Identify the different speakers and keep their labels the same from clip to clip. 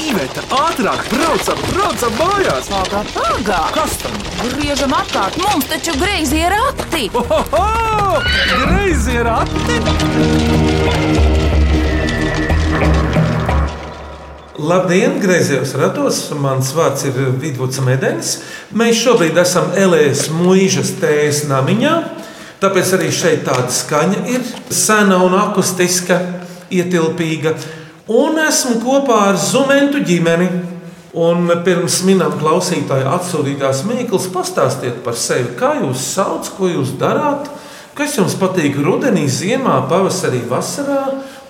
Speaker 1: Iveta, ātrāk, braucam, braucam mājās!
Speaker 2: Pagā, pagā!
Speaker 1: Kas tam?
Speaker 2: Griežam apkārt, mums taču greizi ir akti!
Speaker 1: Ohoho! Greizi ir ati!
Speaker 3: Labdien, griezījos ratos. Mans vārds ir Vidvuds Mēdenis. Mēs šobrīd esam Elēnas mūžas tējas namiņā. Tāpēc arī šeit tāda skaņa ir sena un akustiska, ietilpīga. Un esmu kopā ar Zumentu ģimeni. Un pirms minām klausītāju atsūtītās mīklas, pastāstiet par sevi, kā jūs sauc, ko jūs darāt, kas jums patīk rudenī, ziemā, pavasarī, vasarā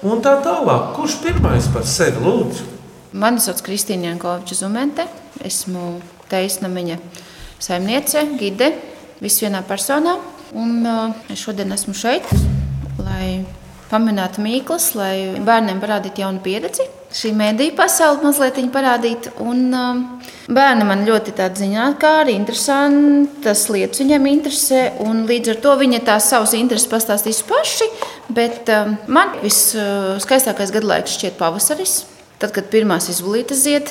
Speaker 3: un tā tālāk. Kurš pirmais par sevi lūdzu?
Speaker 4: Mani sauc Kristīna Jankoviča Zumente. Esmu teisnamiņa saimniece, gide, viss vienā personā. Un uh, šodien esmu šeit, lai pamanātu mīklas, lai bērniem parādītu jaunu pieredzi. Šī mēdīja pasaule mazliet viņa parādītu. Un, uh, bērni man ļoti tādā ziņā, kā arī interesantas lietas viņiem interesē. un Līdz ar to viņi tās savas intereses pastāstīs paši. Bet um, man viskaistākais gadlaiks šķiet pavasaris. Tad, kad pirmās izbūvētas zied,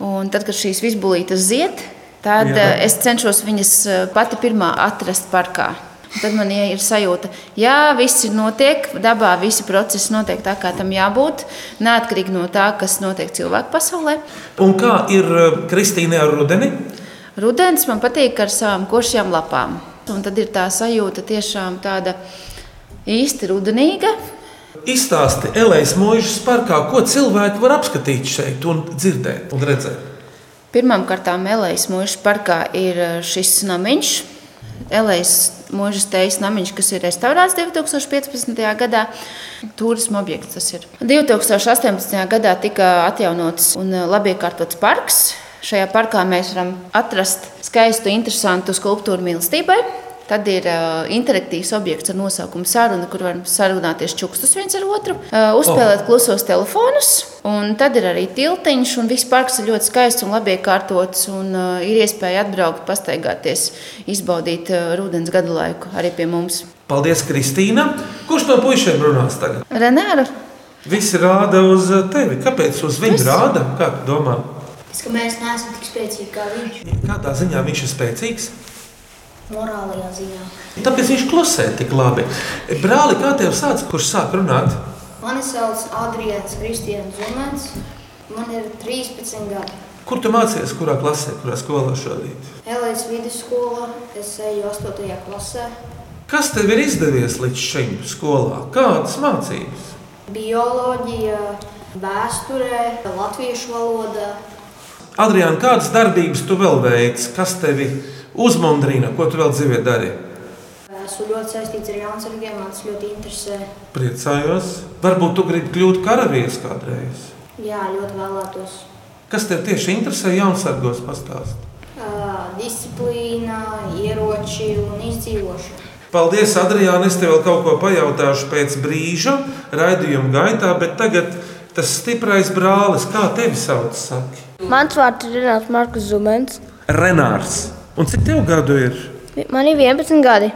Speaker 4: un tad, kad šīs izbūvētas zied, tad
Speaker 3: Jā.
Speaker 4: Jā. es cenšos viņas eh, pati pirmā atrast parkā. Un Tad man ie- ir sajūta, ka viss ir notiek, dabā visi procesi notiek tā, kā tam jābūt. Neatkarīgi no tā, kas notiek cilvēku pasaulē.
Speaker 3: Un kā ir uh, Kristīne ar rudeni?
Speaker 4: Rudenis man patīk ar savām košajām lapām. Un tad ir tā sajūta tiešām tāda īsti rudenīga.
Speaker 3: Izstāsti Elēnas mūžas parkā, ko cilvēki var apskatīt šeit, un dzirdēt un redzēt.
Speaker 4: Pirmkārt, Elēnas mūža parkā ir eh, šis namiņš. Elēnas mūža steigā namiņš, kas ir restaurēts 2015. gadā. Turisma objekts tas ir. 2018. gadā tika atjaunots un eh, labi iekārtots parks. Šajā parkā mēs varam atrast skaistu, interesantu skulptūru mīlestībai. Tad ir uh, interaktīvs objekts ar nosaukumu saruna, kur varam sarunāties čukstus viens ar otru, uh, uzspēlēt klusos telefonus. Un tad ir arī tiltiņš, un viss parks ir ļoti skaists un labi iekārtots. Un, uh, ir iespēja atbraukt, pastaigāties, izbaudīt uh, rudens gadu laiku arī pie mums.
Speaker 3: Paldies, Kristīna! Kurš no puišiem runās tagad?
Speaker 4: Renāra,
Speaker 3: Visi rāda uz uh, tevi. Kāpēc uz viņu
Speaker 4: Es?
Speaker 3: rāda? Kā tu domā?
Speaker 5: Es ka mēs neesam tik spēcīgi kā viņš
Speaker 3: Kādā ziņā viņš ir spēcīgs?
Speaker 5: morālajā ziņā.
Speaker 3: Tāpēc viņš klusē tik labi. Brāli, kā tev sāc, kurš sāk runāt?
Speaker 5: Mani sauc Adrians Kristians Zumans. Man ir 13 gadi.
Speaker 3: Kur tu mācies, kurā klasē, kurā skolā šodien?
Speaker 5: Elēnas vidusskola, es eju 8. klasē.
Speaker 3: Kas tev ir izdevies līdz šim skolā? Kādas mācības?
Speaker 5: Bioloģija, vēsture, latviešu valoda.
Speaker 3: Adrian, kādas darbības tu vēl veici, kas tevi uzmundrina, ko tu vēl dzīvē dari?
Speaker 5: Esmu ļoti saistīts ar Jānisargiem, man tas ļoti interesē.
Speaker 3: Priecājos. Varbūt tu gribi kļūt karavīrs kādreiz.
Speaker 5: Jā, ļoti vēlētos.
Speaker 3: Kas tev tieši interesē, Jānisargos pastāst?
Speaker 5: Ā, Disciplīna, ieroči un izdzīvošana.
Speaker 3: Paldies, Adrian, es tev vēl kaut ko pajautāšu pēc brīža, raidījuma gaitā, bet tagad tas stiprais brālis, kā tevi sauc, saki?
Speaker 6: Mans vārds ir Renāts Markus Zumens.
Speaker 3: Renārs. Un cik tev gadu ir?
Speaker 6: Man ir 11 gadi.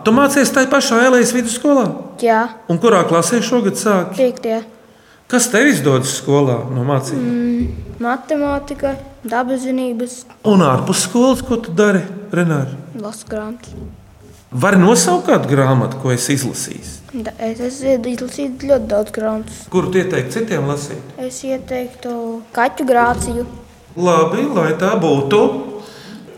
Speaker 3: Tu mācies tajā pašā Elēnas vidusskolā?
Speaker 6: Jā,
Speaker 3: Un kurā klasē šogad sāki?
Speaker 6: 5.
Speaker 3: Kas tev izdodas skolā no mācībām?
Speaker 6: Matemātika, dabas zinības,
Speaker 3: Un ārpus skolas, ko tu dari, Renāri?
Speaker 6: lasu grāmatas.
Speaker 3: Vari nosaukt kādu grāmatu, ko es izlasīju,
Speaker 6: Da- Es esmu izlasījis ļoti daudz grāmatas.
Speaker 3: kuru ieteikt citiem lasīt?
Speaker 6: Es ieteiktu kaķu grāciju.
Speaker 3: Labi, lai tā būtu.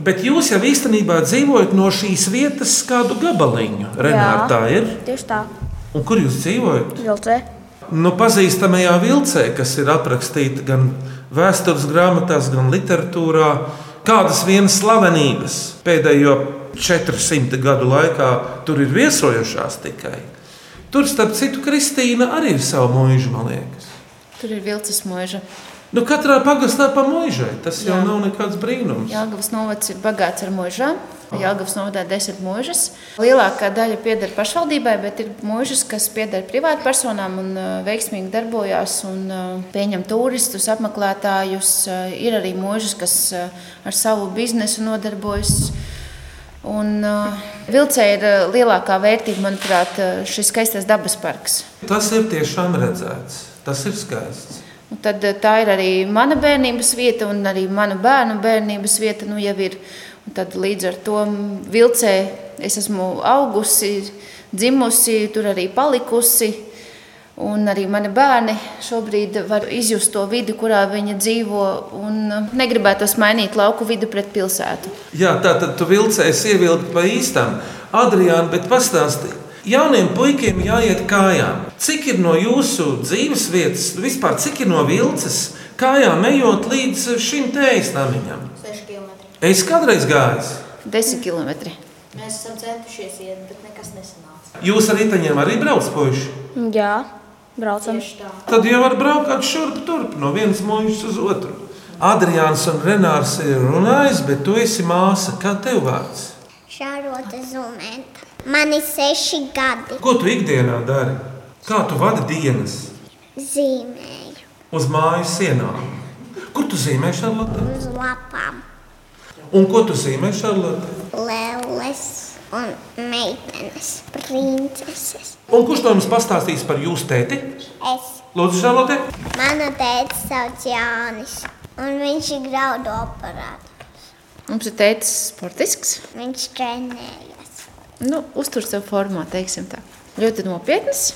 Speaker 3: Bet jūs jau īstenībā dzīvojat no šīs vietas kādu gabaliņu. Renāri,
Speaker 6: Jā.
Speaker 3: tā ir.
Speaker 6: Tieši tā,
Speaker 3: Un kur jūs dzīvojat?
Speaker 6: vilcē.
Speaker 3: No Nu, pazīstamajā vilcē, kas ir aprakstīta gan vēstures grāmatās, gan literatūrā, kādas vienas slavenības pēdējo 400 gadu laikā tur ir viesojušās tikai. Tur, starp citu, Kristīna arī ir savu mūžu, man liekas.
Speaker 4: tur ir vilcis mūža.
Speaker 3: Nu, katrā pagastā pa mūžai tas jau Jā.
Speaker 4: Jā.
Speaker 3: nav nekāds brīnums.
Speaker 4: Jāgavas novads ir bagāts ar mūžām. Jāgavas novadā ir desmit mūžas. Lielākā daļa pieder pašvaldībai, bet ir mūžas, kas pieder privātpersonām un uh, veiksmīgi darbojās un uh, pieņem turistus, apmeklētājus. Uh, Ir arī mūžas, kas uh, ar savu biznesu nodarbojas. Un uh, vilcē ir uh, lielākā vērtība, manuprāt, uh, šis skaistais dabas parks.
Speaker 3: Tas ir tiešām redzēts, tas ir skaists.
Speaker 4: Un Tad eh, tā ir arī mana bērnības vieta, un arī mana bērnu bērnības vieta nu, jau ir. Un Tad, līdz ar to mm, vilcē es esmu augusi, dzimusi, tur arī palikusi. Un arī mani bērni šobrīd var izjust to vidi, kurā viņi dzīvo. Un eh, negribētos mainīt lauku vidi pret pilsētu.
Speaker 3: Jā, tā tad tu vilcējies ievilkt pa īstam. Adriāna, bet pastāsti, jauniem puikiem jāiet kājām. Cik ir no jūsu dzīves vietas, vispār cik ir no vilces kājām ejot līdz šim tēsnamiņam?
Speaker 5: 6 km.
Speaker 3: Es kādreiz gāju.
Speaker 4: Desmit kilometri.
Speaker 5: Mēs esam centušies iet, bet nekas nesanāca.
Speaker 3: Jūs ar riteņiem arī braucat puiši.
Speaker 6: Jā, braucam.
Speaker 5: Tieši tā.
Speaker 3: Tad jau var braukt šurp turp no vienas mūžas uz otru. Adrians un Renārs ir runājis, bet tu esi māsa. Kā tev vārds?
Speaker 7: Šarota Zumenta. Man ir seši gadi.
Speaker 3: Ko tu ikdienā dari? Kā tu vadi dienas
Speaker 7: Zīmēju
Speaker 3: uz mājas sienām? Kur tu zīmē šarlotē?
Speaker 7: uz lapām
Speaker 3: Un ko tu zīmē šarlotē?
Speaker 7: lēles un meitenes, princeses.
Speaker 3: Un kurš to jums pastāstīs par jūsu tēti?
Speaker 7: Es,
Speaker 3: Lūdzu, šarlotē.
Speaker 7: mana tēta sauc Jānis, un viņš ir graudu operāts.
Speaker 4: Mums ir teicis sportisks.
Speaker 7: Viņš trenējas.
Speaker 4: nu, uztur sev formā, teiksim tā. Ļoti nopietnas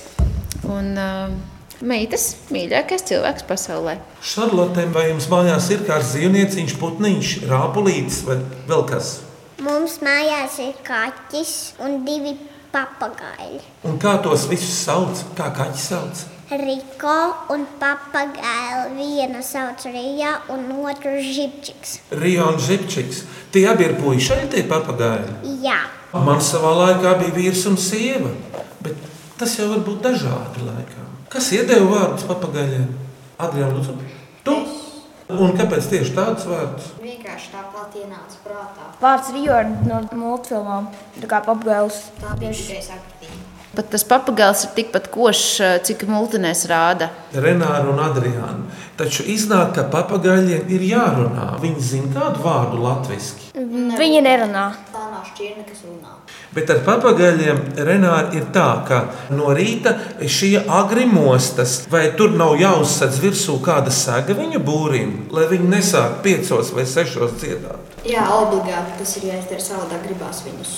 Speaker 4: un uh, meitas mīļākais cilvēks pasaulē.
Speaker 3: Šarlotēm vai jums mājās ir kāds zīmnieciņš, putniņš, rāpulītis vai vēl kas?
Speaker 7: Mums mājās ir kaķis un divi papagaļi.
Speaker 3: Un kā tos visus sauc? Kā kaķis sauc?
Speaker 7: Riko un papagaļi vienu sauc Rija un otru Žibčiks.
Speaker 3: Rio un Zipčiks. Tie abi ir puikas, tie papagaili.
Speaker 7: Jā,
Speaker 3: Man savā laikā bija vīrs un sieva, bet tas jau var būt dažādi laikā. Kas iedeva vārdus papagaļiem? Adrian, lūdzu, tu? Un kāpēc tieši tāds vārds?
Speaker 5: Vienkārši tāpat ienāca prātā.
Speaker 6: Vārds Rio ir no multfilmām, tā kā papgailis.
Speaker 5: Tā bija šis aktīvs.
Speaker 4: Pat tas papagailis ir tikpat košs, ā, cik multinēs rāda.
Speaker 3: Renāra un Adriāna. Taču iznāk, ka papagaļiem ir jārunā. Viņi zina kādu vārdu latviešu.
Speaker 6: Viņi nerunā.
Speaker 5: Tā nav šķirne, kas runā.
Speaker 3: Bet ar papagaļiem Renāra ir tā, ka no rīta šie agrimostas, vai tur nav jāuzsadz virsū kāda saga viņu būrim, lai viņi nesāktu piecos vai sešos dziedāt.
Speaker 5: Jā, obligāti tas ir jāizdara savādāk, gribās viņus.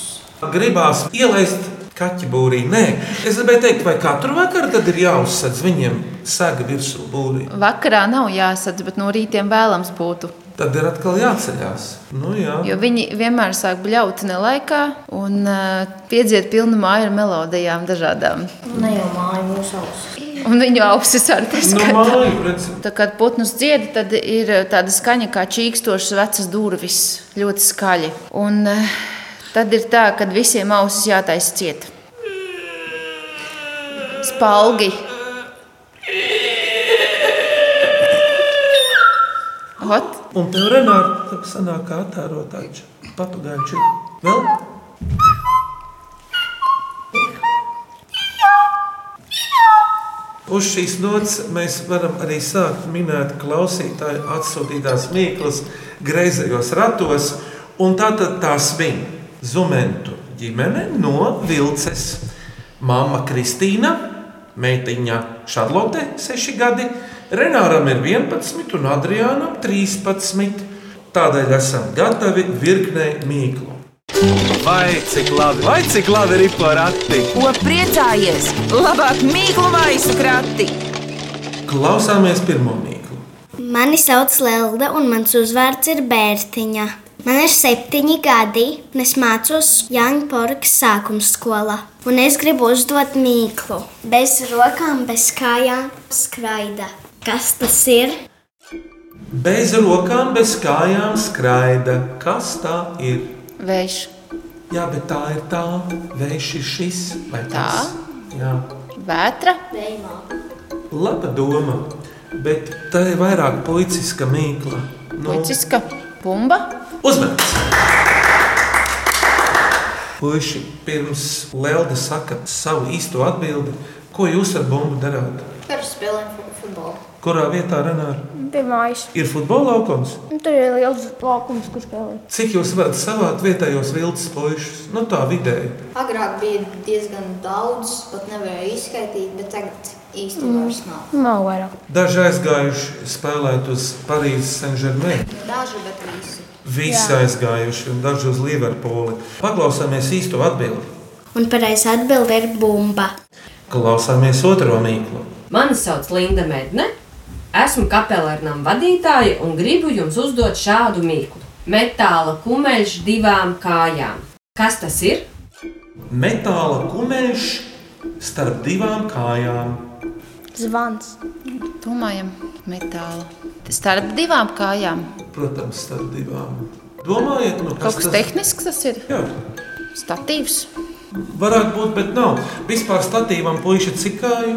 Speaker 3: Gribās ielaist kaķu būrī. Nē, es gribēju teikt, vai katru vakaru tad ir jāuzsadz viņiem saga virsū būrī.
Speaker 4: Vakarā nav jāsadz, bet no rītiem vēlams būtu.
Speaker 3: Tad ir atkal jāceļās. Nu, jā.
Speaker 4: Jo viņi vienmēr sāk bļaut ne laikā un uh, piedziet pilnu māju ar melodijām dažādām.
Speaker 5: Ne jau māju mūsu ausis.
Speaker 4: Un viņu ausis ar tas.
Speaker 3: Nu, māju, redz,
Speaker 4: Tā Kad putnus dziedā, tad ir eh, tāda skaņa kā čīkstošas vecas durvis, ļoti skaļi. Un eh, tad ir tā, ka visiem ausis jātaisa ciet. Spalgi. Hot.
Speaker 3: Un tev, Renāra, tā sanāk kā attērotāji. Papagaiči. Vēl? Uz šīs nots mēs varam arī sākt minēt klausītāju atsūtītās mīklas greizējos ratos. Un tā tad tās bija Zumentu ģimene no Vilces. Māma Kristīna, meitiņa Šarlote, 6 gadi, Renāram ir 11 un Adriānam 13. Tādēļ esam gatavi virknei mīklu.
Speaker 1: Vai cik labi, vai cik labi ir porakti?
Speaker 2: Ko priecājies? Labāk mīklu maisu krati!
Speaker 3: Klausāmies pirmo mīklu.
Speaker 7: Mani sauc Lelda, un mans uzvārds ir Bērtiņa. Man ir septiņi gadi, un es mācos Jāņporkas sākuma skolā. Un es gribu uzdot mīklu. Bez rokām, bez kājām skraida. Kas tas ir?
Speaker 3: Bez rokām, bez kājām skraida. Kas tā ir?
Speaker 4: Vējš.
Speaker 3: Jā, bet tā ir tā, vējš ir šis vai tas. Jā.
Speaker 4: Vētra.
Speaker 3: Laba doma, bet tā ir vairāk puiciska mīkla. Nu,
Speaker 4: Puciska. Pumba.
Speaker 3: Uzmanības! Puisi, pirms Lielda saka savu īsto atbildi, ko jūs ar bumbu darāt?
Speaker 5: Par spēlēm fu- futbolu.
Speaker 3: Kurā vietā Renāra?
Speaker 6: Pie mājas.
Speaker 3: ir futbola laukums?
Speaker 6: Un Tur ir liels laukums, kur spēlēt.
Speaker 3: Cik jūs varat savākt vietējos viltus puikas? Nu tā vidēji.
Speaker 5: Agrāk bija diezgan daudz, pat nevarēja izskaidrot, bet tagad īsti
Speaker 6: Mm.
Speaker 5: vairs nav.
Speaker 6: Nav vairāk.
Speaker 3: Daži aizgājuši spēlēt uz Parīzes Saint-Germain.
Speaker 5: Daži, bet visi.
Speaker 3: Visi aizgājuši, un daži uz Liverpooli. Paklausāmies īsto atbildību.
Speaker 7: Un pareizā atbilde ir bumba.
Speaker 3: Klausāmies otro mīklu.
Speaker 8: Mani sauc Linda Medne, esmu kapelārnam vadītāja un gribu jums uzdot šādu mīklu. Metāla kumeļš divām kājām. Kas tas ir?
Speaker 3: Metāla kumeļš starp divām kājām.
Speaker 6: Zvans.
Speaker 4: Domājam, metāla. Starp divām kājām.
Speaker 3: Protams, starp divām. Domājiet, nu,
Speaker 4: Kaut
Speaker 3: kas
Speaker 4: kas
Speaker 3: tas
Speaker 4: tehnisks tas ir?
Speaker 3: Jā,
Speaker 4: Statīvs.
Speaker 3: varētu būt, bet nav. Vispār statīvam puiši cikāju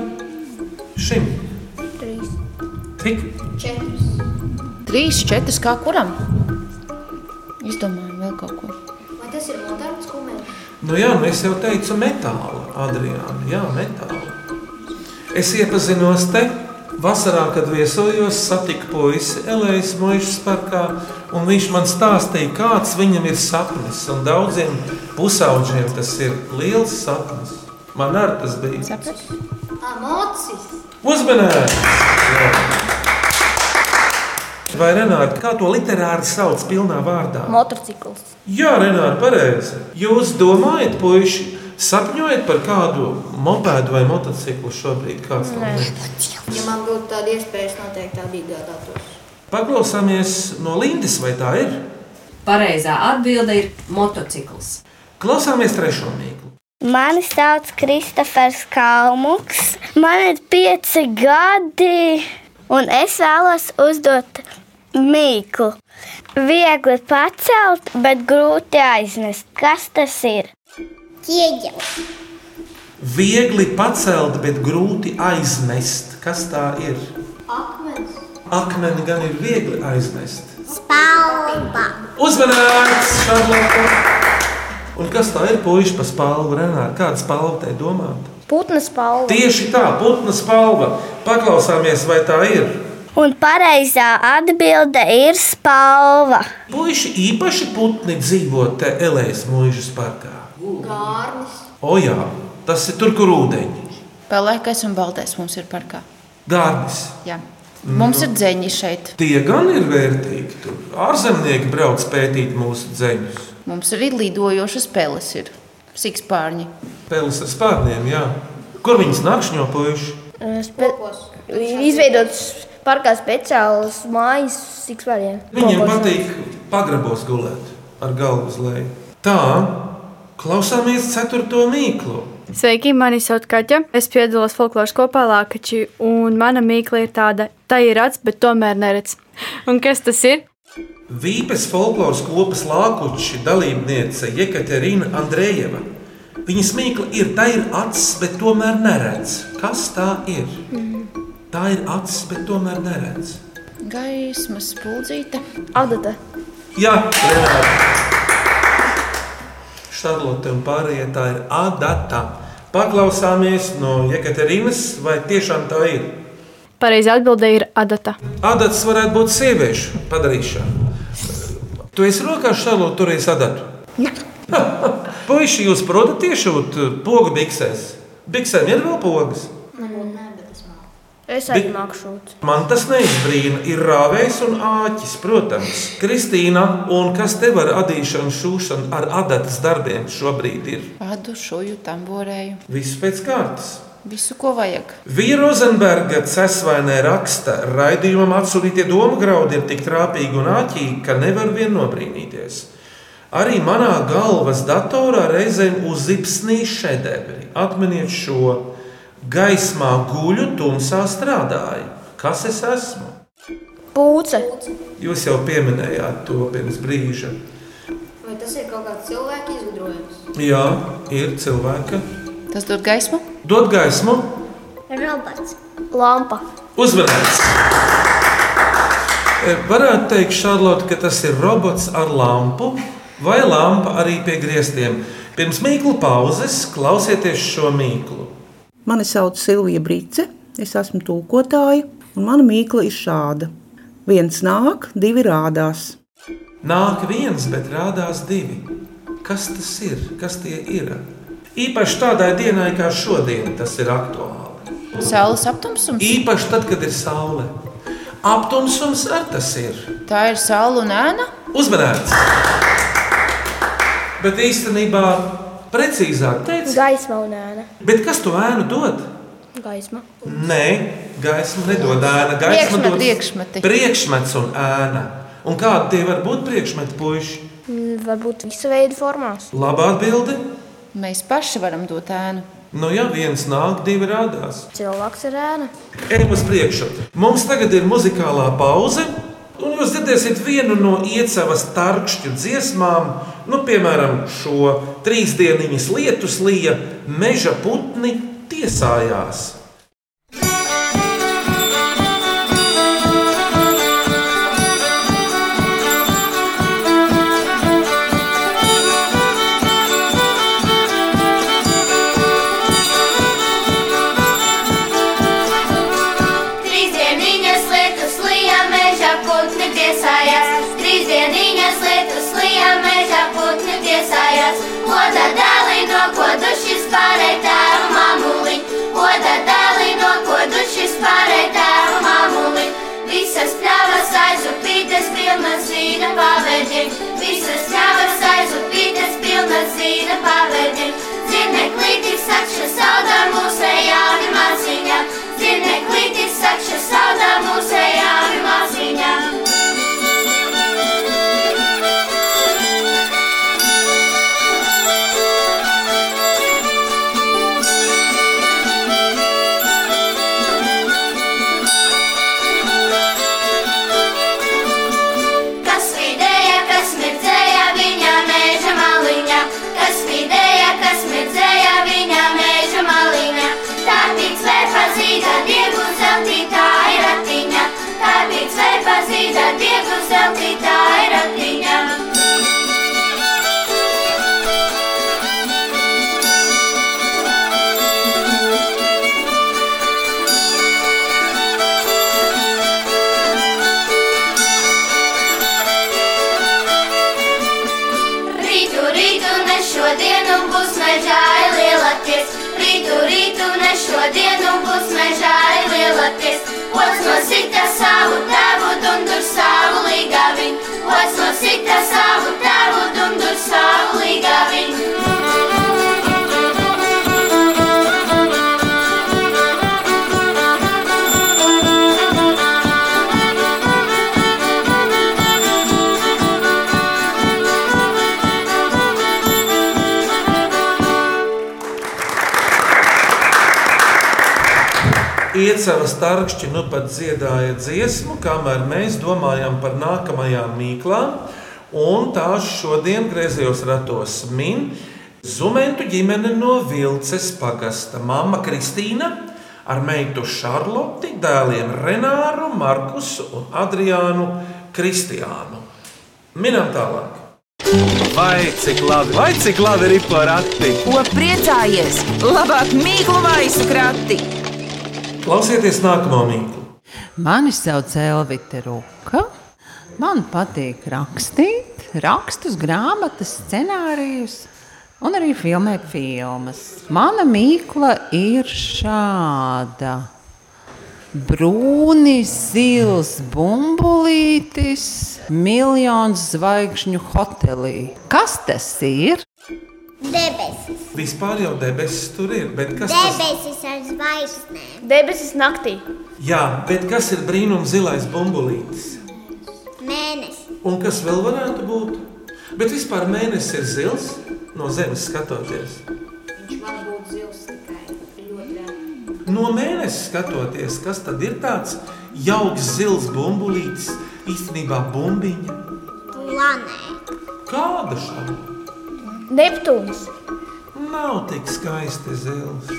Speaker 3: šim. Trīs. Tik
Speaker 5: Četras.
Speaker 4: Trīs, četras kā kuram? Izdomājam vēl kaut ko.
Speaker 5: Vai tas ir moderns kumeļš?
Speaker 3: Nu, jā, nu es jau teicu, metāla, Adriāna. Jā, metāla. Es iepazinos te vasarā, kad viesojos, satiku puisi Elēnas Mūžas parkā. un Viņš man stāstīja, kāds viņam ir sapnis. Un daudziem pusaudžiem tas ir liels sapnis. Man arī tas bija.
Speaker 4: Sapratu?
Speaker 5: Amocis.
Speaker 3: Uzmanīgi! Vai Renāri, kā to literāri sauc pilnā vārdā?
Speaker 6: Motorcikls.
Speaker 3: Jā, Renāri, pareizi. Jūs domājat, puiši, sapņojat par kādu mopēdu vai motociklu šobrīd? Kāds tam ir?
Speaker 5: Ja man būtu tāda iespēja, es noteikti tādu iegādātos.
Speaker 3: Paklausāmies no Lindas, vai tā ir?
Speaker 8: Pareizā atbilde ir motocikls.
Speaker 3: Klausāmies trešo mīklu.
Speaker 9: Mani sauc Kristofers Kalmuks. Man ir pieci gadi, un es vēlos uzdot mīklu. Viegli pacelt, bet grūti aiznest. Kas tas ir?
Speaker 7: Ieģelis.
Speaker 3: Viegli pacelt, bet grūti aiznest. Kas tā ir?
Speaker 5: Akmens.
Speaker 3: Akmeni gan ir viegli aiznest.
Speaker 7: Spalva.
Speaker 3: Uzmanīgs, Šarlotte! Un kas tā ir, puiši, pa spalvu, Renāri? Kāda spalva te domāt?
Speaker 6: Putnas palva.
Speaker 3: Tieši tā, putna spalva. Paklausāmies, vai tā ir.
Speaker 9: Un pareizā atbilde ir spalva.
Speaker 3: Puiši īpaši putni dzīvo te Elēnas mūžas parkā.
Speaker 5: Gārnis.
Speaker 3: O jā, tas ir tur, kur ūdeņi.
Speaker 4: Pelēkais un baltais mums ir parkā.
Speaker 3: Dārnis.
Speaker 4: Jā. Mums ir dzēņi šeit.
Speaker 3: Tie gan ir vērtīgi. Tur ārzemnieki brauc pētīt mūsu dzēņus.
Speaker 4: Mums arī lidojošas peles ir. Sikspārņi.
Speaker 3: Pēlis ar spārniem, jā. Kur viņas nakšņo puiši?
Speaker 5: Kokos.
Speaker 6: Izveidots parkā speciāls mājas sikspāriem.
Speaker 3: Viņiem patīk pagrabos gulēt ar galvu uz leju. Tā, klausāmies ceturto mīklu.
Speaker 10: Sveiki, mani sauc Kaķa. Es piedalos folkloras kopā Lākači, un mana mīkla ir tāda, tā ir acis, bet tomēr neredz. Un kas tas ir?
Speaker 3: Vīpes folkloras kopas lākuči dalībniece Jekaterina Andrejeva. Viņas mīkla ir, tā ir acis, bet tomēr neredz. Kas tā ir? Tā ir acis, bet tomēr neredz.
Speaker 4: Gaismas spuldzīte.
Speaker 6: Adata.
Speaker 3: Jā, Renāri. Šarlote un pārējie tā ir adata. Paklausāmies no Jekaterinas, vai tiešām tā ir.
Speaker 10: Pareizi atbildēja ir Adata.
Speaker 3: Adats varētu būt sieviešu padarīšana. Tu esi rokās šādu turējies adatu. Puisši, jūs protat tiešūt uh, pogu biksēs. Biksēm ir vēl pogas.
Speaker 6: Es arī māku šūt.
Speaker 3: Man tas neizbrīna. Ir rāvējs un āķis, protams. Kristīna, un kas tev ar adīšanu, šūšanu, ar adatas darbiem šobrīd ir?
Speaker 4: Pādu, šuju, tamborēju.
Speaker 3: Viss pēc kārtas.
Speaker 4: Visu, ko vajag.
Speaker 3: Vīra Rozenberga cesvainē raksta, ka raidījumam atsūtītie domu graudi ir tik trāpīgi un āķīgi, ka nevar vien nobrīnīties. Arī manā galvas datorā reizēm uzipsnīja šedevri. Atminiet šo gaismā guļu, tumsā strādāju. Kas es esmu?
Speaker 6: Pūce.
Speaker 3: Jūs jau pieminējāt to pirms brīža.
Speaker 5: Vai tas ir kaut kāds cilvēka izgudrojums?
Speaker 3: Jā, ir cilvēka.
Speaker 4: Tas dod gaismu.
Speaker 3: Dod gaismu,
Speaker 7: Robots.
Speaker 6: Lampa.
Speaker 3: Uzmanīgs! E, Varētu teikt, Šarlote, ka tas ir robots ar lampu vai lampa arī pie griestiem. Pirms mīklu pauzes klausieties šo mīklu.
Speaker 11: Mani sauc Silvija Brīce, es esmu tūkotāja, un mana mīkla ir šāda. Viens nāk, divi rādās.
Speaker 3: Nāk viens, bet rādās divi. Kas tas ir? Kas tie ir? Īpaši tādai dienai kā šodien tas ir aktuāli.
Speaker 4: Saules aptumsums.
Speaker 3: Īpaši tad, kad ir saule. Aptumsums ar tas ir.
Speaker 4: Tā ir saule un ēna.
Speaker 3: Uzmanīts! Bet īstenībā precīzāk teikt,
Speaker 6: Gaisma un ēna.
Speaker 3: bet kas to ēnu dod?
Speaker 6: Gaisma.
Speaker 3: Nē, gaisma nedod ēna. Gaisma
Speaker 4: Priekšmeti,
Speaker 3: dod
Speaker 4: priekšmeti.
Speaker 3: Priekšmets un ēna. Un kādi tie var būt priekšmeti, puiši?
Speaker 6: Mm, Varbūt visu veidu formās.
Speaker 3: Labā atbilde.
Speaker 4: Mēs paši varam dot ēnu.
Speaker 3: Nu, ja viens nāk, divi rādās.
Speaker 6: Cilvēks ir ēna.
Speaker 3: Ejam uz priekšu. Mums tagad ir muzikālā pauze. Un jūs dzirdēsiet vienu no iecavas tarkšķu dziesmām, nu, piemēram, šo trīs dieniņas lietus lija, meža putni tiesājās.
Speaker 12: Trīs dieniņas lietus lija mežā putni tiesājās. Trīs dieniņas lietus lija mežā putni tiesājās. Oda dēlī no kodušas pārēj tēvu mamuliņ. Oda dēlī no kodušas pārēj tēvu mamuliņ. Visas pļavas aizupītas pilnas vīna pavēdiņ. Visas pļavas aizupītas pilnas vīna pavēdiņ. Zirneklītis sakša saudā mūsu jauni māsiņā. Zirneklītis sakša saudā mūsu jauni māsiņā. Kas vidēja, kas mirdzēja viņa meža maliņā, kas vidēja, kas mirdzēja viņa meža maliņā. Tā bija cvēpa zīda, dievu zeltītā ir ratiņa, tā bija cvēpa zīda, dievu zeltītā ir ratiņa. Rītu, rītu, ne šodienu būs mežāja lielāties. Rītu, rītu, ne šodienu būs mežāja lielāties. Ots no sita savu tēvu, dundur savu līgavi. Ots no sita savu tēvu, dundur savu līgavi.
Speaker 3: Iecavas tarkšķi nu pat dziedāja dziesmu, kamēr mēs domājam par nākamajām mīklām. Un tās šodien griezījos ratos min Zumentu ģimene no Vilces pagasta. Mama Kristīna ar meitu Šarloti, dēliem Renāru, Markusu un Adriānu Kristiānu. Minam tālāk.
Speaker 1: Vai cik labi, vai cik labi ir porakti?
Speaker 2: Ko priecājies? Labāk mīklu maisu krati.
Speaker 3: Klausieties nākamo mīklu.
Speaker 13: Mani sauc Elvita Ruka. Man patīk rakstīt, rakstus, grāmatas, scenārijus un arī filmēt filmas. Mana mīkla ir šāda. Brūni, zils, bumbulītis, miljons zvaigžņu hotelī. Kas tas ir?
Speaker 14: Debesis.
Speaker 3: Vispār jau debesis tur ir, bet kas tas ir?
Speaker 14: Debesis ar zvaigznēm. Debesis naktī.
Speaker 3: Jā, bet kas ir brīnums zilais bumbulītis?
Speaker 14: Mēnesis.
Speaker 3: Un kas vēl varētu būt? Bet vispār mēnesis ir zils no zemes skatoties.
Speaker 5: Viņš var būt zils tikai ļoti reti.
Speaker 3: No mēnesis skatoties, kas tad ir tāds jauks zils bumbulītis, īstenībā bumbiņa.
Speaker 14: Planēta.
Speaker 3: Kāda šāda?
Speaker 6: Neptūns.
Speaker 3: Nav tik skaisti zils.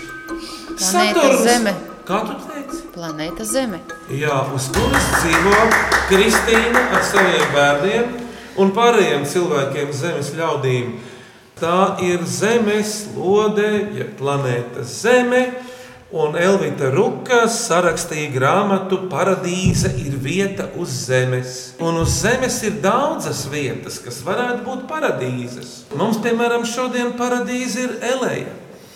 Speaker 4: Planēta Zeme.
Speaker 3: Kā tu teici?
Speaker 4: Planēta Zeme.
Speaker 3: Jā, uz kuras dzīvo Kristīna ar saviem bērniem un pārējiem cilvēkiem, zemes ļaudīm. Tā ir zemes lode, jeb planēta Zeme. Un Elvita Ruka sarakstīja grāmatu Paradīze ir vieta uz zemes. Un uz zemes ir daudzas vietas, kas varētu būt paradīzes. Mums, piemēram, šodien paradīze ir Eleja.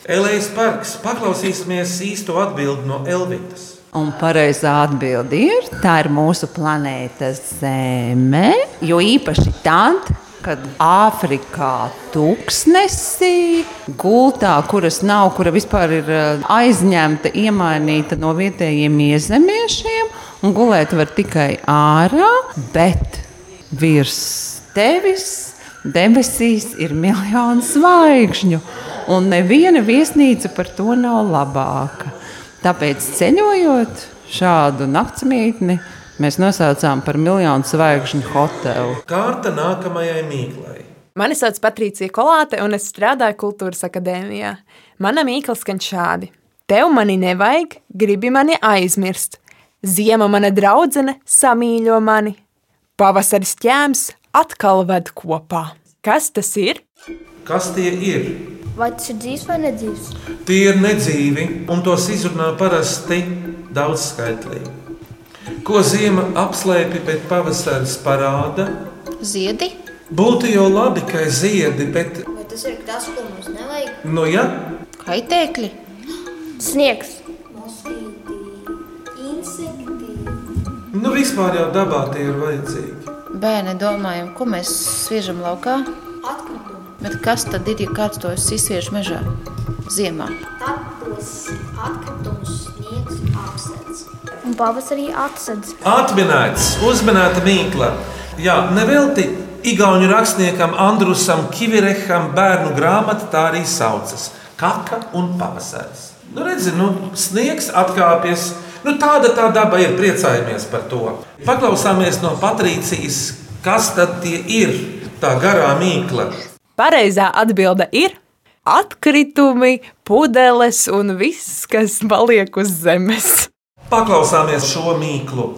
Speaker 3: Elējas parks. Paklausīsimies īsto atbildi no Elvitas.
Speaker 13: Un pareizā atbilde ir, tā ir mūsu eh, planēta Zeme. Jo īpaši tad, kad Āfrikā tūkstnesī gultā, kuras nav, kura vispār ir eh, aizņemta, iemainīta no vietējiem iezemiešiem, un gulēt var tikai ārā, bet virs tevis debesīs ir miljonu zvaigžņu, un neviena viesnīca par to nav labāka. Tāpēc ceļojot šādu naktsmītni, mēs nosaucām par miljonu zvaigžņu hotelu.
Speaker 3: Kārta nākamajai mīklai.
Speaker 15: Mani sauc Patricija Kolāte, un es strādāju kultūras akadēmijā. Mana mīkla skan šādi: Tev mani nevajag, gribi mani aizmirst. Ziema mana draudzene samīļo mani. Pavasaris ķēms atkal ved kopā. Kas tas ir?
Speaker 3: Kas tie ir?
Speaker 6: Vai tas ir dzīves vai nedzīves?
Speaker 3: Tie ir nedzīvi, un tos izrunā parasti daudz skaitlīgi. Ko zima apslēpj, bet pavasaris parāda?
Speaker 4: Ziedi?
Speaker 3: Būtu jau labi, ka ir ziedi, bet
Speaker 5: Vai tas ir tas, ko mums nevajag?
Speaker 3: nu ja,
Speaker 4: Kaitēkļi?
Speaker 6: Sniegs.
Speaker 5: Insekti.
Speaker 3: nu vispār jau dabā tie ir vajadzīgi.
Speaker 4: Bērni domājam, ko mēs sviežam laukā. Bet kas tad ir, ja kāds to izsviež mežā? Ziemā.
Speaker 5: Tapos atkritumus sniegs apsēdz.
Speaker 6: Un pavasarī atsedz.
Speaker 3: Atminēts, uzmanīta mīkla. Jā, nevelti Igaunijas rakstniekam Andrusam Kivireham bērnu grāmata tā arī saucas - Kaka un pavasaris. Nu, redzi, nu, sniegs atkāpjas. Nu, tāda tā daba ir, priecājamies par to. Paklausāmies no Patrīcijas, kas tad tie ir tā garā mīkla.
Speaker 15: Pareizā atbilde ir atkritumi, pudeles un viss, kas paliek uz zemes.
Speaker 3: Paklausāmies šo mīklu.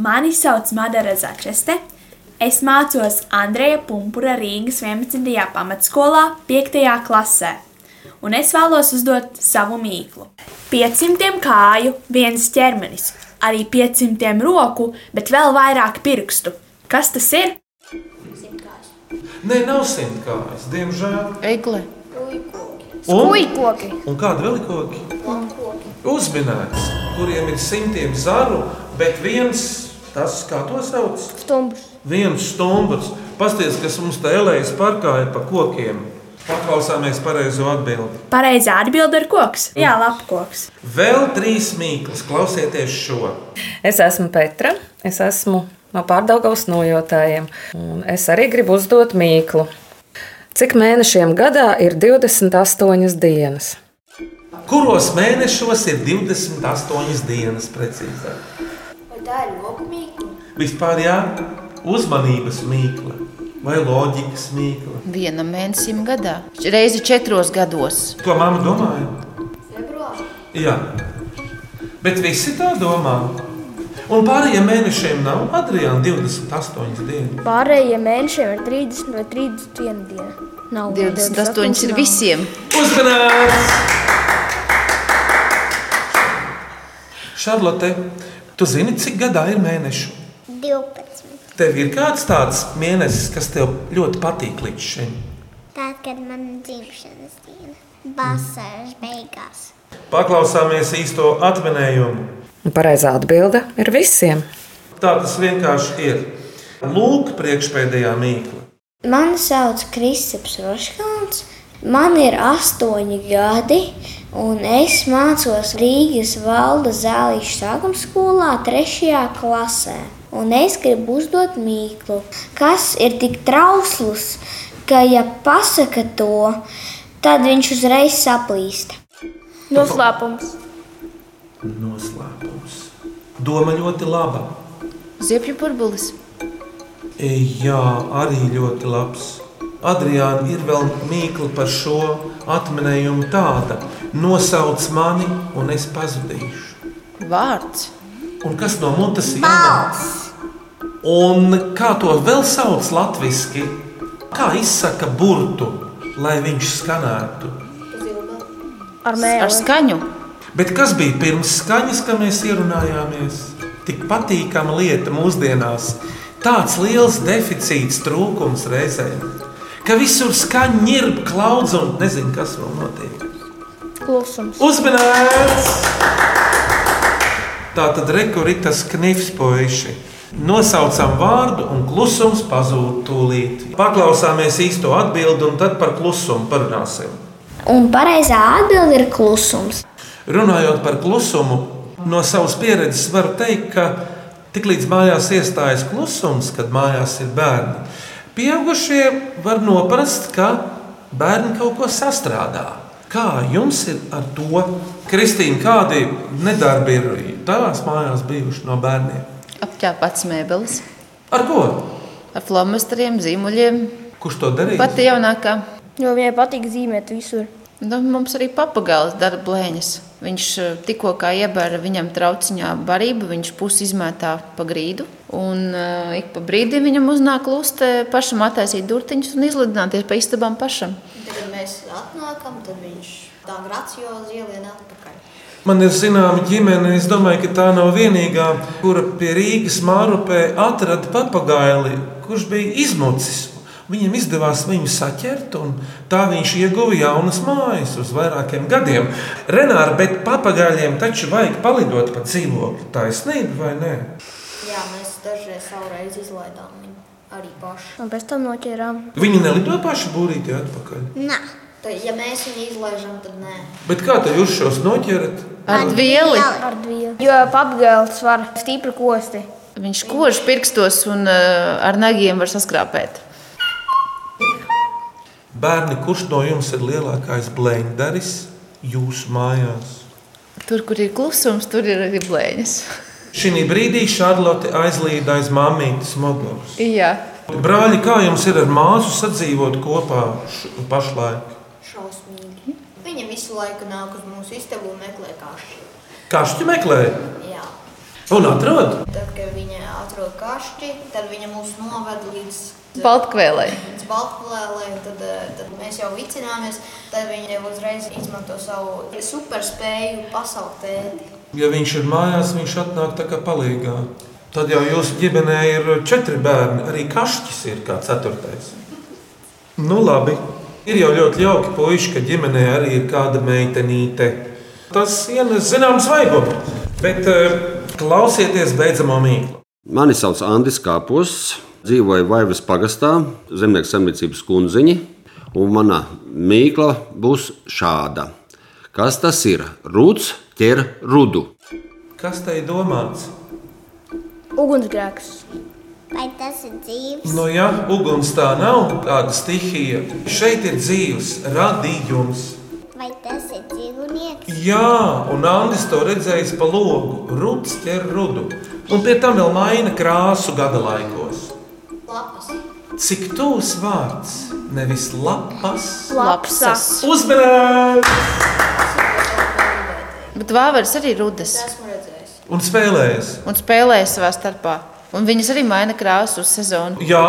Speaker 16: Mani sauc Madara Zakaste. Es mācos Andreja Punkūra Rīgas 11. pamatskolā, 5. klasē. Un es vēlos uzdot savu mīklu. 500 kāju, viens ķermenis, arī 500 roku, bet vēl vairāk pirkstu. Kas tas ir?
Speaker 3: Nē, nav simtkājas, diemžēl.
Speaker 4: Egle.
Speaker 3: Skūjkoki. Un kādi vēl ir koki? Uzminēts, kuriem ir simtiem zaru, bet viens tas, kā to sauc,
Speaker 6: Stumbrs.
Speaker 3: viens stumbrs. Pasties, kas mums te elējas parkā ir pa kokiem. Paklausāmies pareizo atbildi. Mm.
Speaker 16: Pareizā atbilde ir koks. Jā, lapkoks.
Speaker 3: Vēl trīs mīklas, klausieties šo.
Speaker 17: Es esmu Petra, es esmu no pārdaugavas nojotājiem, un es arī gribu uzdot mīklu. Cik mēnešiem gadā ir 28 dienas?
Speaker 3: Kuros mēnešos ir 28 dienas precīzāk?
Speaker 5: Vai tā ir loku mīkla?
Speaker 3: Vispār jā, uzmanības mīkla vai loģikas mīkla.
Speaker 4: Vienam mēnesim gadā. Reizi četros gados.
Speaker 3: Ko mamma domāja?
Speaker 5: Februārā.
Speaker 3: Jā, bet visi tā domā. Un pārējiem mēnešiem nav Adriana 28 dienas.
Speaker 6: Pārējie mēnešiem ir 30 vai 31 diena. Nav
Speaker 4: 28 ir visiem.
Speaker 3: Uzmanības! Šarlote, tu zini, cik gadā ir mēnešu?
Speaker 14: 12.
Speaker 3: Tev ir kāds tāds mēnesis, kas tev ļoti patīk līdz šim.
Speaker 14: Tad, kad man ir dzimšanas diena, vasaras beigās.
Speaker 3: Paklausāmies īsto atminējumu.
Speaker 17: Un Pareizā atbilde ir visiem.
Speaker 3: Tā tas vienkārši ir. Lūk, priekšpēdējā mīkla.
Speaker 18: Mani sauc Kristaps Roškāns. Man ir astoņi gadi, un es mācos Rīgas valda zālīšu sākuma skolā, trešajā klasē. Un es gribu uzdot mīklu, kas ir tik trausls, ka, ja pasaka to, tad viņš uzreiz saplīst.
Speaker 6: Noslēpums.
Speaker 3: Noslēpums. Doma ļoti laba.
Speaker 4: Ziepju burbulis.
Speaker 3: E, Jā, arī ļoti labs. Adriāna ir vēl mīkla par šo atminējumu tāda. Nosauc mani, un es pazudīšu.
Speaker 4: Vārds.
Speaker 3: Un kas no mutes ienāk? Un kā to vēl sauc latviešu? Kā izsaka burtu, lai viņš skanētu?
Speaker 4: Ar, Ar skaņu.
Speaker 3: Bet kas bija pirms skaņas, kad mēs ierunājāmies? Tik patīkama lieta mūsdienās. Tāds liels deficīts, trūkums reizēm, ka visur skaņa ir klaudz un nezinu, kas vēl notiek.
Speaker 6: Klusums.
Speaker 3: Uzmanīts! Tā tad rekurītas knifs puiši. Nosaucam vārdu, un klusums pazūd tūlīt. Paklausāmies īsto atbildi, un tad par klusumu parunāsim.
Speaker 18: Un pareizā atbilde ir klusums.
Speaker 3: Runājot par klusumu, no savas pieredzes varu teikt, ka tiklīdz mājās iestājas klusums, kad mājās ir bērni, pieaugušie var noprast, ka bērni kaut ko sastrādā. Kā jums ir ar to? Kristīna, kādi nedarbi ir tavās mājās bijuši no bērniem?
Speaker 4: Apķēpats mēbeles
Speaker 3: Ar ko?
Speaker 4: ar flomasteriem, zīmuļiem.
Speaker 3: Kurš to darīja?
Speaker 4: Pati jaunākā.
Speaker 6: Jo viņai patīk zīmēt visur.
Speaker 4: Nu, mums arī papagailis dara blēņas. Viņš eh, tikko kā iebēra viņam trauciņā barību, viņš pusi izmētā pa grīdu. Un uh, ik pa brīdim viņam uznāk lustē pašam attaisīt durtiņus un izlidināties pa istabām pašam.
Speaker 5: Tagad mēs atnākam, tad viņš tā graciozi ielien atpakaļ.
Speaker 3: Man ir zināma ģimene, es domāju, ka tā nav vienīgā, kura pie Rīgas mārupē atrada papagaili, kurš bija izmucis. Viņam izdevās viņu saķert, un tā viņš ieguva jaunas mājas uz vairākiem gadiem. Renāri, bet papagailiem taču vajag palidot pa dzīvokli. Taisnība vai nē?
Speaker 5: Jā, mēs dažreiz savreiz izlaidām viņu arī paši.
Speaker 6: Un pēc tam noķērām.
Speaker 3: Viņi nelido paši būrīti atpakaļ.
Speaker 5: Nē. Tad, ja mēs viņu izlaižam, tad nē.
Speaker 3: Bet kā tad jūs šos noķerat?
Speaker 6: Ar vielu. Jo papgālis var stipri kosti.
Speaker 4: Viņš kož pirkstos un uh, ar nagiem var saskrāpēt.
Speaker 3: Bērni, kurš no jums ir lielākais blenderis jūsu mājās?
Speaker 4: Tur, kur ir klusums, tur ir arī blēņas.
Speaker 3: Šī brīdī Šarlote aizlīd aiz mamītes muguras.
Speaker 4: Jā,
Speaker 3: Brāļi, kā jums ir ar māsu sadzīvot kopā š- pašlaik?
Speaker 5: Šausmīgi. Viņa visu laiku nāk uz mūsu istabu un meklē kašķi.
Speaker 3: Kašķi meklē
Speaker 5: Jā.
Speaker 3: un atrod.
Speaker 5: Tad, kad viņa atrod kašķi, tad viņa mūs noved līdz
Speaker 4: Baltkvēlai.
Speaker 5: Līdz Baltkvēlai, tad, eh, tad mēs jau vicināmies. Tad viņa jau uzreiz izmanto savu superspēju pasaukt tēti.
Speaker 3: Ja viņš ir mājās, viņš atnāk tā kā palīgā. Tad jau jūsu ģimenē ir četri bērni, arī kašķis ir kā ceturtais. Nu, labi. Ir jau ļoti jauki, puiši, ka ģimenē arī ir kāda meitenīte. Tas ienes zināms vaigumu, bet eh, klausieties beidzamo mīklu.
Speaker 19: Mani sauc Andris Kāpos, dzīvoju Vaivas pagastā, zemnieku samniecības kundziņa. Un mana mīkla būs šāda. Kas tas ir? Rūts ķer rudu.
Speaker 3: Kas te ir domāts?
Speaker 6: Ugunsgrēks.
Speaker 14: Vai tas ir dzīves?
Speaker 3: Nu, ja uguns tā nav tāda stihija, šeit ir dzīves radījums.
Speaker 14: Vai tas ir dzīvnieks?
Speaker 3: Jā, un Andris to redzējis pa logu. Ruds ķer rudu. Un pie tam vēl maina krāsu gada laikos.
Speaker 5: Lapas.
Speaker 3: Cik tūs vārds, nevis lapas?
Speaker 4: Lapsas.
Speaker 3: Uzmanības!
Speaker 4: bet vāveres arī rudas
Speaker 3: Un spēlējas.
Speaker 4: un spēlēja savā starpā. Un viņas arī maina krāsu uz sezonu.
Speaker 3: Jā,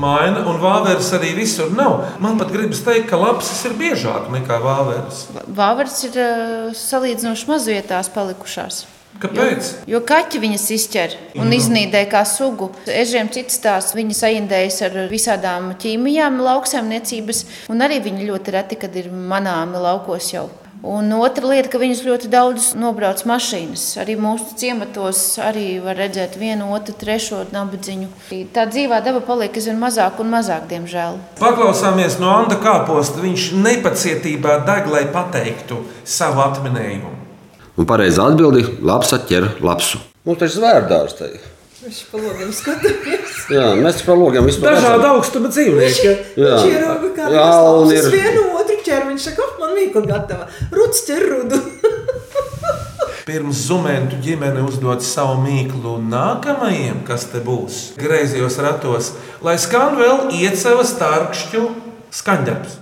Speaker 3: maina, un vāveres arī visur nav. Man pat gribas teikt, ka lapsas ir biežāk nekā vāveres.
Speaker 4: Vāveres ir uh, salīdzinoši maz vietās palikušās.
Speaker 3: Kāpēc?
Speaker 4: Jo kaķi viņas izķer un
Speaker 3: Jā.
Speaker 4: iznīdē kā sugu. Ežiem citas tās viņas aindējas ar visādām ķīmijām, lauksaimniecības, un arī viņi ļoti reti, kad ir manāmi laukos jau. Un otra lieta, ka viņas ļoti daudz nobrauc mašīnas. Arī mūsu ciematos arī var redzēt vienu, otru, trešo nabadziņu. Tā dzīvā daba paliek aizvien mazāk un mazāk, diemžēl.
Speaker 3: Paklausāmies no Anta kāposta. Viņš nepacietībā deg, lai pateiktu savu atminējumu.
Speaker 19: Un pareizi atbildi - lapsa ķer lapsu. Mums taču zvērdārs te ir.
Speaker 20: Viņš pa logiem skatījās.
Speaker 19: Jā, mēs par logiem vispār.
Speaker 3: Dažāda
Speaker 19: redzam.
Speaker 3: augstuma dzīvnieki.
Speaker 19: Jā.
Speaker 20: Viņš ierauga, kā
Speaker 19: Jā, un
Speaker 20: viņš
Speaker 19: ir-
Speaker 20: vienu otru ķēru. Viņš saka, "Ah, man mīkla gatava. Ruds ķer rudu.
Speaker 3: Pirms zumēntu ģimene uzdod savu mīklu nākamajam, kas te būs griezījos ratos, lai skan vēl iecevas starpšķu skaņdarbs.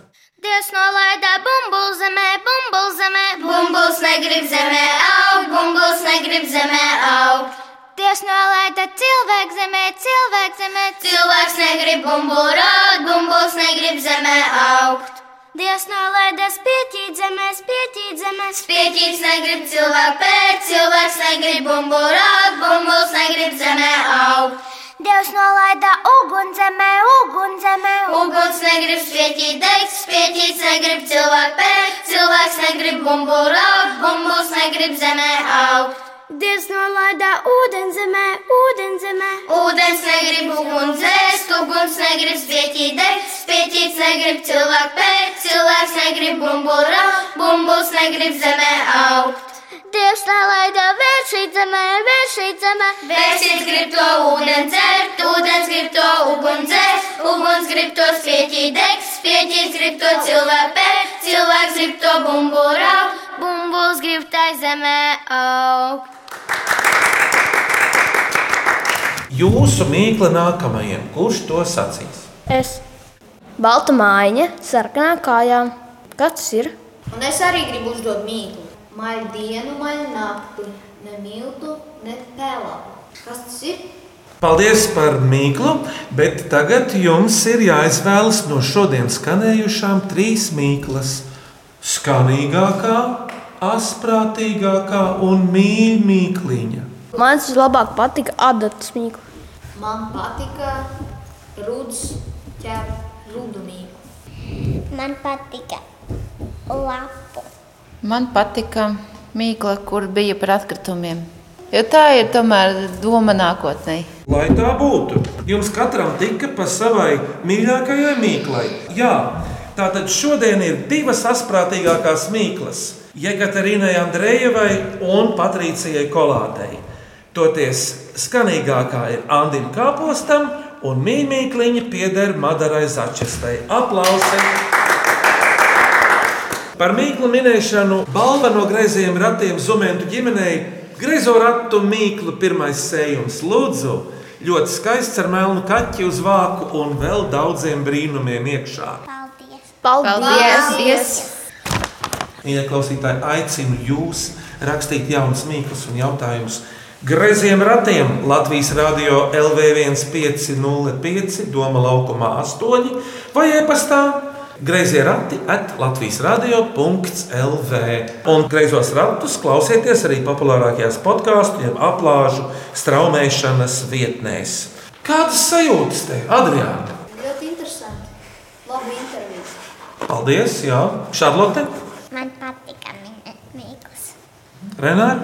Speaker 12: Dievs nolaidā bumbuļs zemē, bumbuļs zemē, bumbuļs negrib zemē augt, bumbuļs negrib zemē augt. Dievs nolaida cilvēku zemē, cilvēku zemē, cilvēks negrib bumbuļot, bumbuļs negrib zemē augt. Dievs nolaida spieķīt zemē, spieķīt zemē, spieķīts negrib cilvēku pēc, cilvēks negrib bumbuļot, bumbuļs negrib zemē augt.
Speaker 14: Dievs nolaida ugunzemē, ugunzemē.
Speaker 12: Uguns negrib spēķīt, degs spēķīt, negrib cilvēku pēkt, cilvēks negrib bumburu augt, bumbuls negrib zemē augt.
Speaker 14: Dievs nolaida ūdenzemē, ūdenzemē.
Speaker 12: Ūdens negrib uguns dzēst, uguns negrib spēķīt, degs spēķīt, negrib cilvēku pēkt, cilvēks negrib bumburu augt, bumbuls negrib zemē augt.
Speaker 14: Dievs nelaida vēršīt zemē, vēršīt zemē.
Speaker 12: Vērsīt grib to ūdeni dzert, ūdens grib to uguns dzert, uguns grib to spieķīt degs, spieķīt grib to cilvēku pēkt, cilvēks grib to bumburu, augt, bumbuls grib tai zemē augt.
Speaker 3: Jūsu mīkla nākamajam, kurš to sacīs?
Speaker 6: Es. Balta mājiņa, sarkanā kājā. Kas tas ir?
Speaker 5: Un es arī gribu uzdot mīklu. Maļu dienu, maļu nakti, ne miltu, ne pelā. Kas tas ir?
Speaker 3: Paldies par mīklu, bet tagad jums ir jāizvēlas no šodienas skanējušām trīs mīklas. Skanīgākā, asprātīgākā un mīļākā.
Speaker 6: Man tas labāk patika adatas mīklu.
Speaker 5: Man patika rudas ķēra rudumīgu.
Speaker 14: Man patika lapu.
Speaker 4: Man patika mīkla, kur bija par atkritumiem. Jo tā ir tomēr doma nākotnē.
Speaker 3: Lai tā būtu, jums katram tika pa savai mīļākajai mīklai. Jā, tātad šodien ir divas asprātīgākās mīklas - Jēkaterinai Andrejevai un Patricijai Kolātei. Toties skanīgākā ir Andim Kāpostam un mīmīkliņa pieder Madarai Začestai. Aplausi! Par mīklu minēšanu balva no greizējiem ratiem Zumēntu ģimenei Griezo ratu mīklu pirmais sējums lūdzu. Ļoti skaists ar melnu kaķi uz vāku un vēl daudziem brīnumiem iekšā.
Speaker 12: Paldies!
Speaker 3: Mīļie klausītāji, aicinu jūs rakstīt jaunus mīklus un jautājumus. Greziem ratiem Latvijas Rādio LV1505, Doma laukumā 8 vai e-pastā Grezie rati at Latvijas radio.lv. Un greizos ratus klausieties arī populārākajās podkāstu, jeb aplāžu straumēšanas vietnēs. Kādas sajūtas tev, Adriāna?
Speaker 5: Ļoti interesanti. Labi intervijas.
Speaker 3: Paldies, Jā, Šarlote,
Speaker 14: Man patika mi- mīklas.
Speaker 3: Renāri.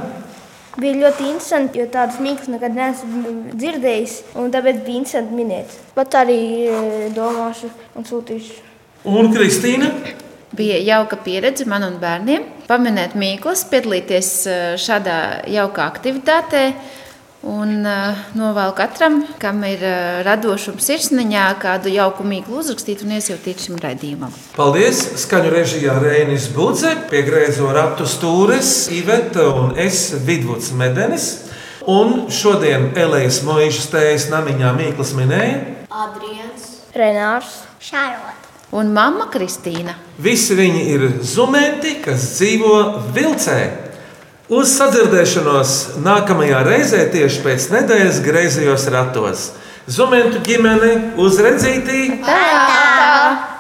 Speaker 6: Bija ļoti interesanti, jo tādas mīklas nekad neesmu dzirdējis. un Tāpēc bija interesanti minēt. Pat arī e, domāšu un sūtīšu.
Speaker 3: Un Kristīna.
Speaker 4: Bija jauka pieredze man un bērniem. Pamanīt mīklas, piedalīties eh, šādā jaukā aktivitātē. Un eh, novēlu katram, kam ir eh, radošums sirsniņā, kādu jauku mīklu uzrakstīt un iesūtīt šim raidījumam.
Speaker 3: Paldies! Skaņu režijā Rēnis Budze, piegriezo ratu stūres, Iveta un es Vidvuds Medenis. Un šodien Elējas Moīšas tējas namiņā Mīklas minēja.
Speaker 5: Adrians.
Speaker 6: Renārs.
Speaker 14: Šarlota.
Speaker 4: Un mamma Kristīna.
Speaker 3: Visi viņi ir zumēti, kas dzīvo vilcē. Uz sadzirdēšanos nākamajā reizē tieši pēc nedēļas griezījos ratos. Zumēntu ģimene uz redzītī!
Speaker 12: Tā!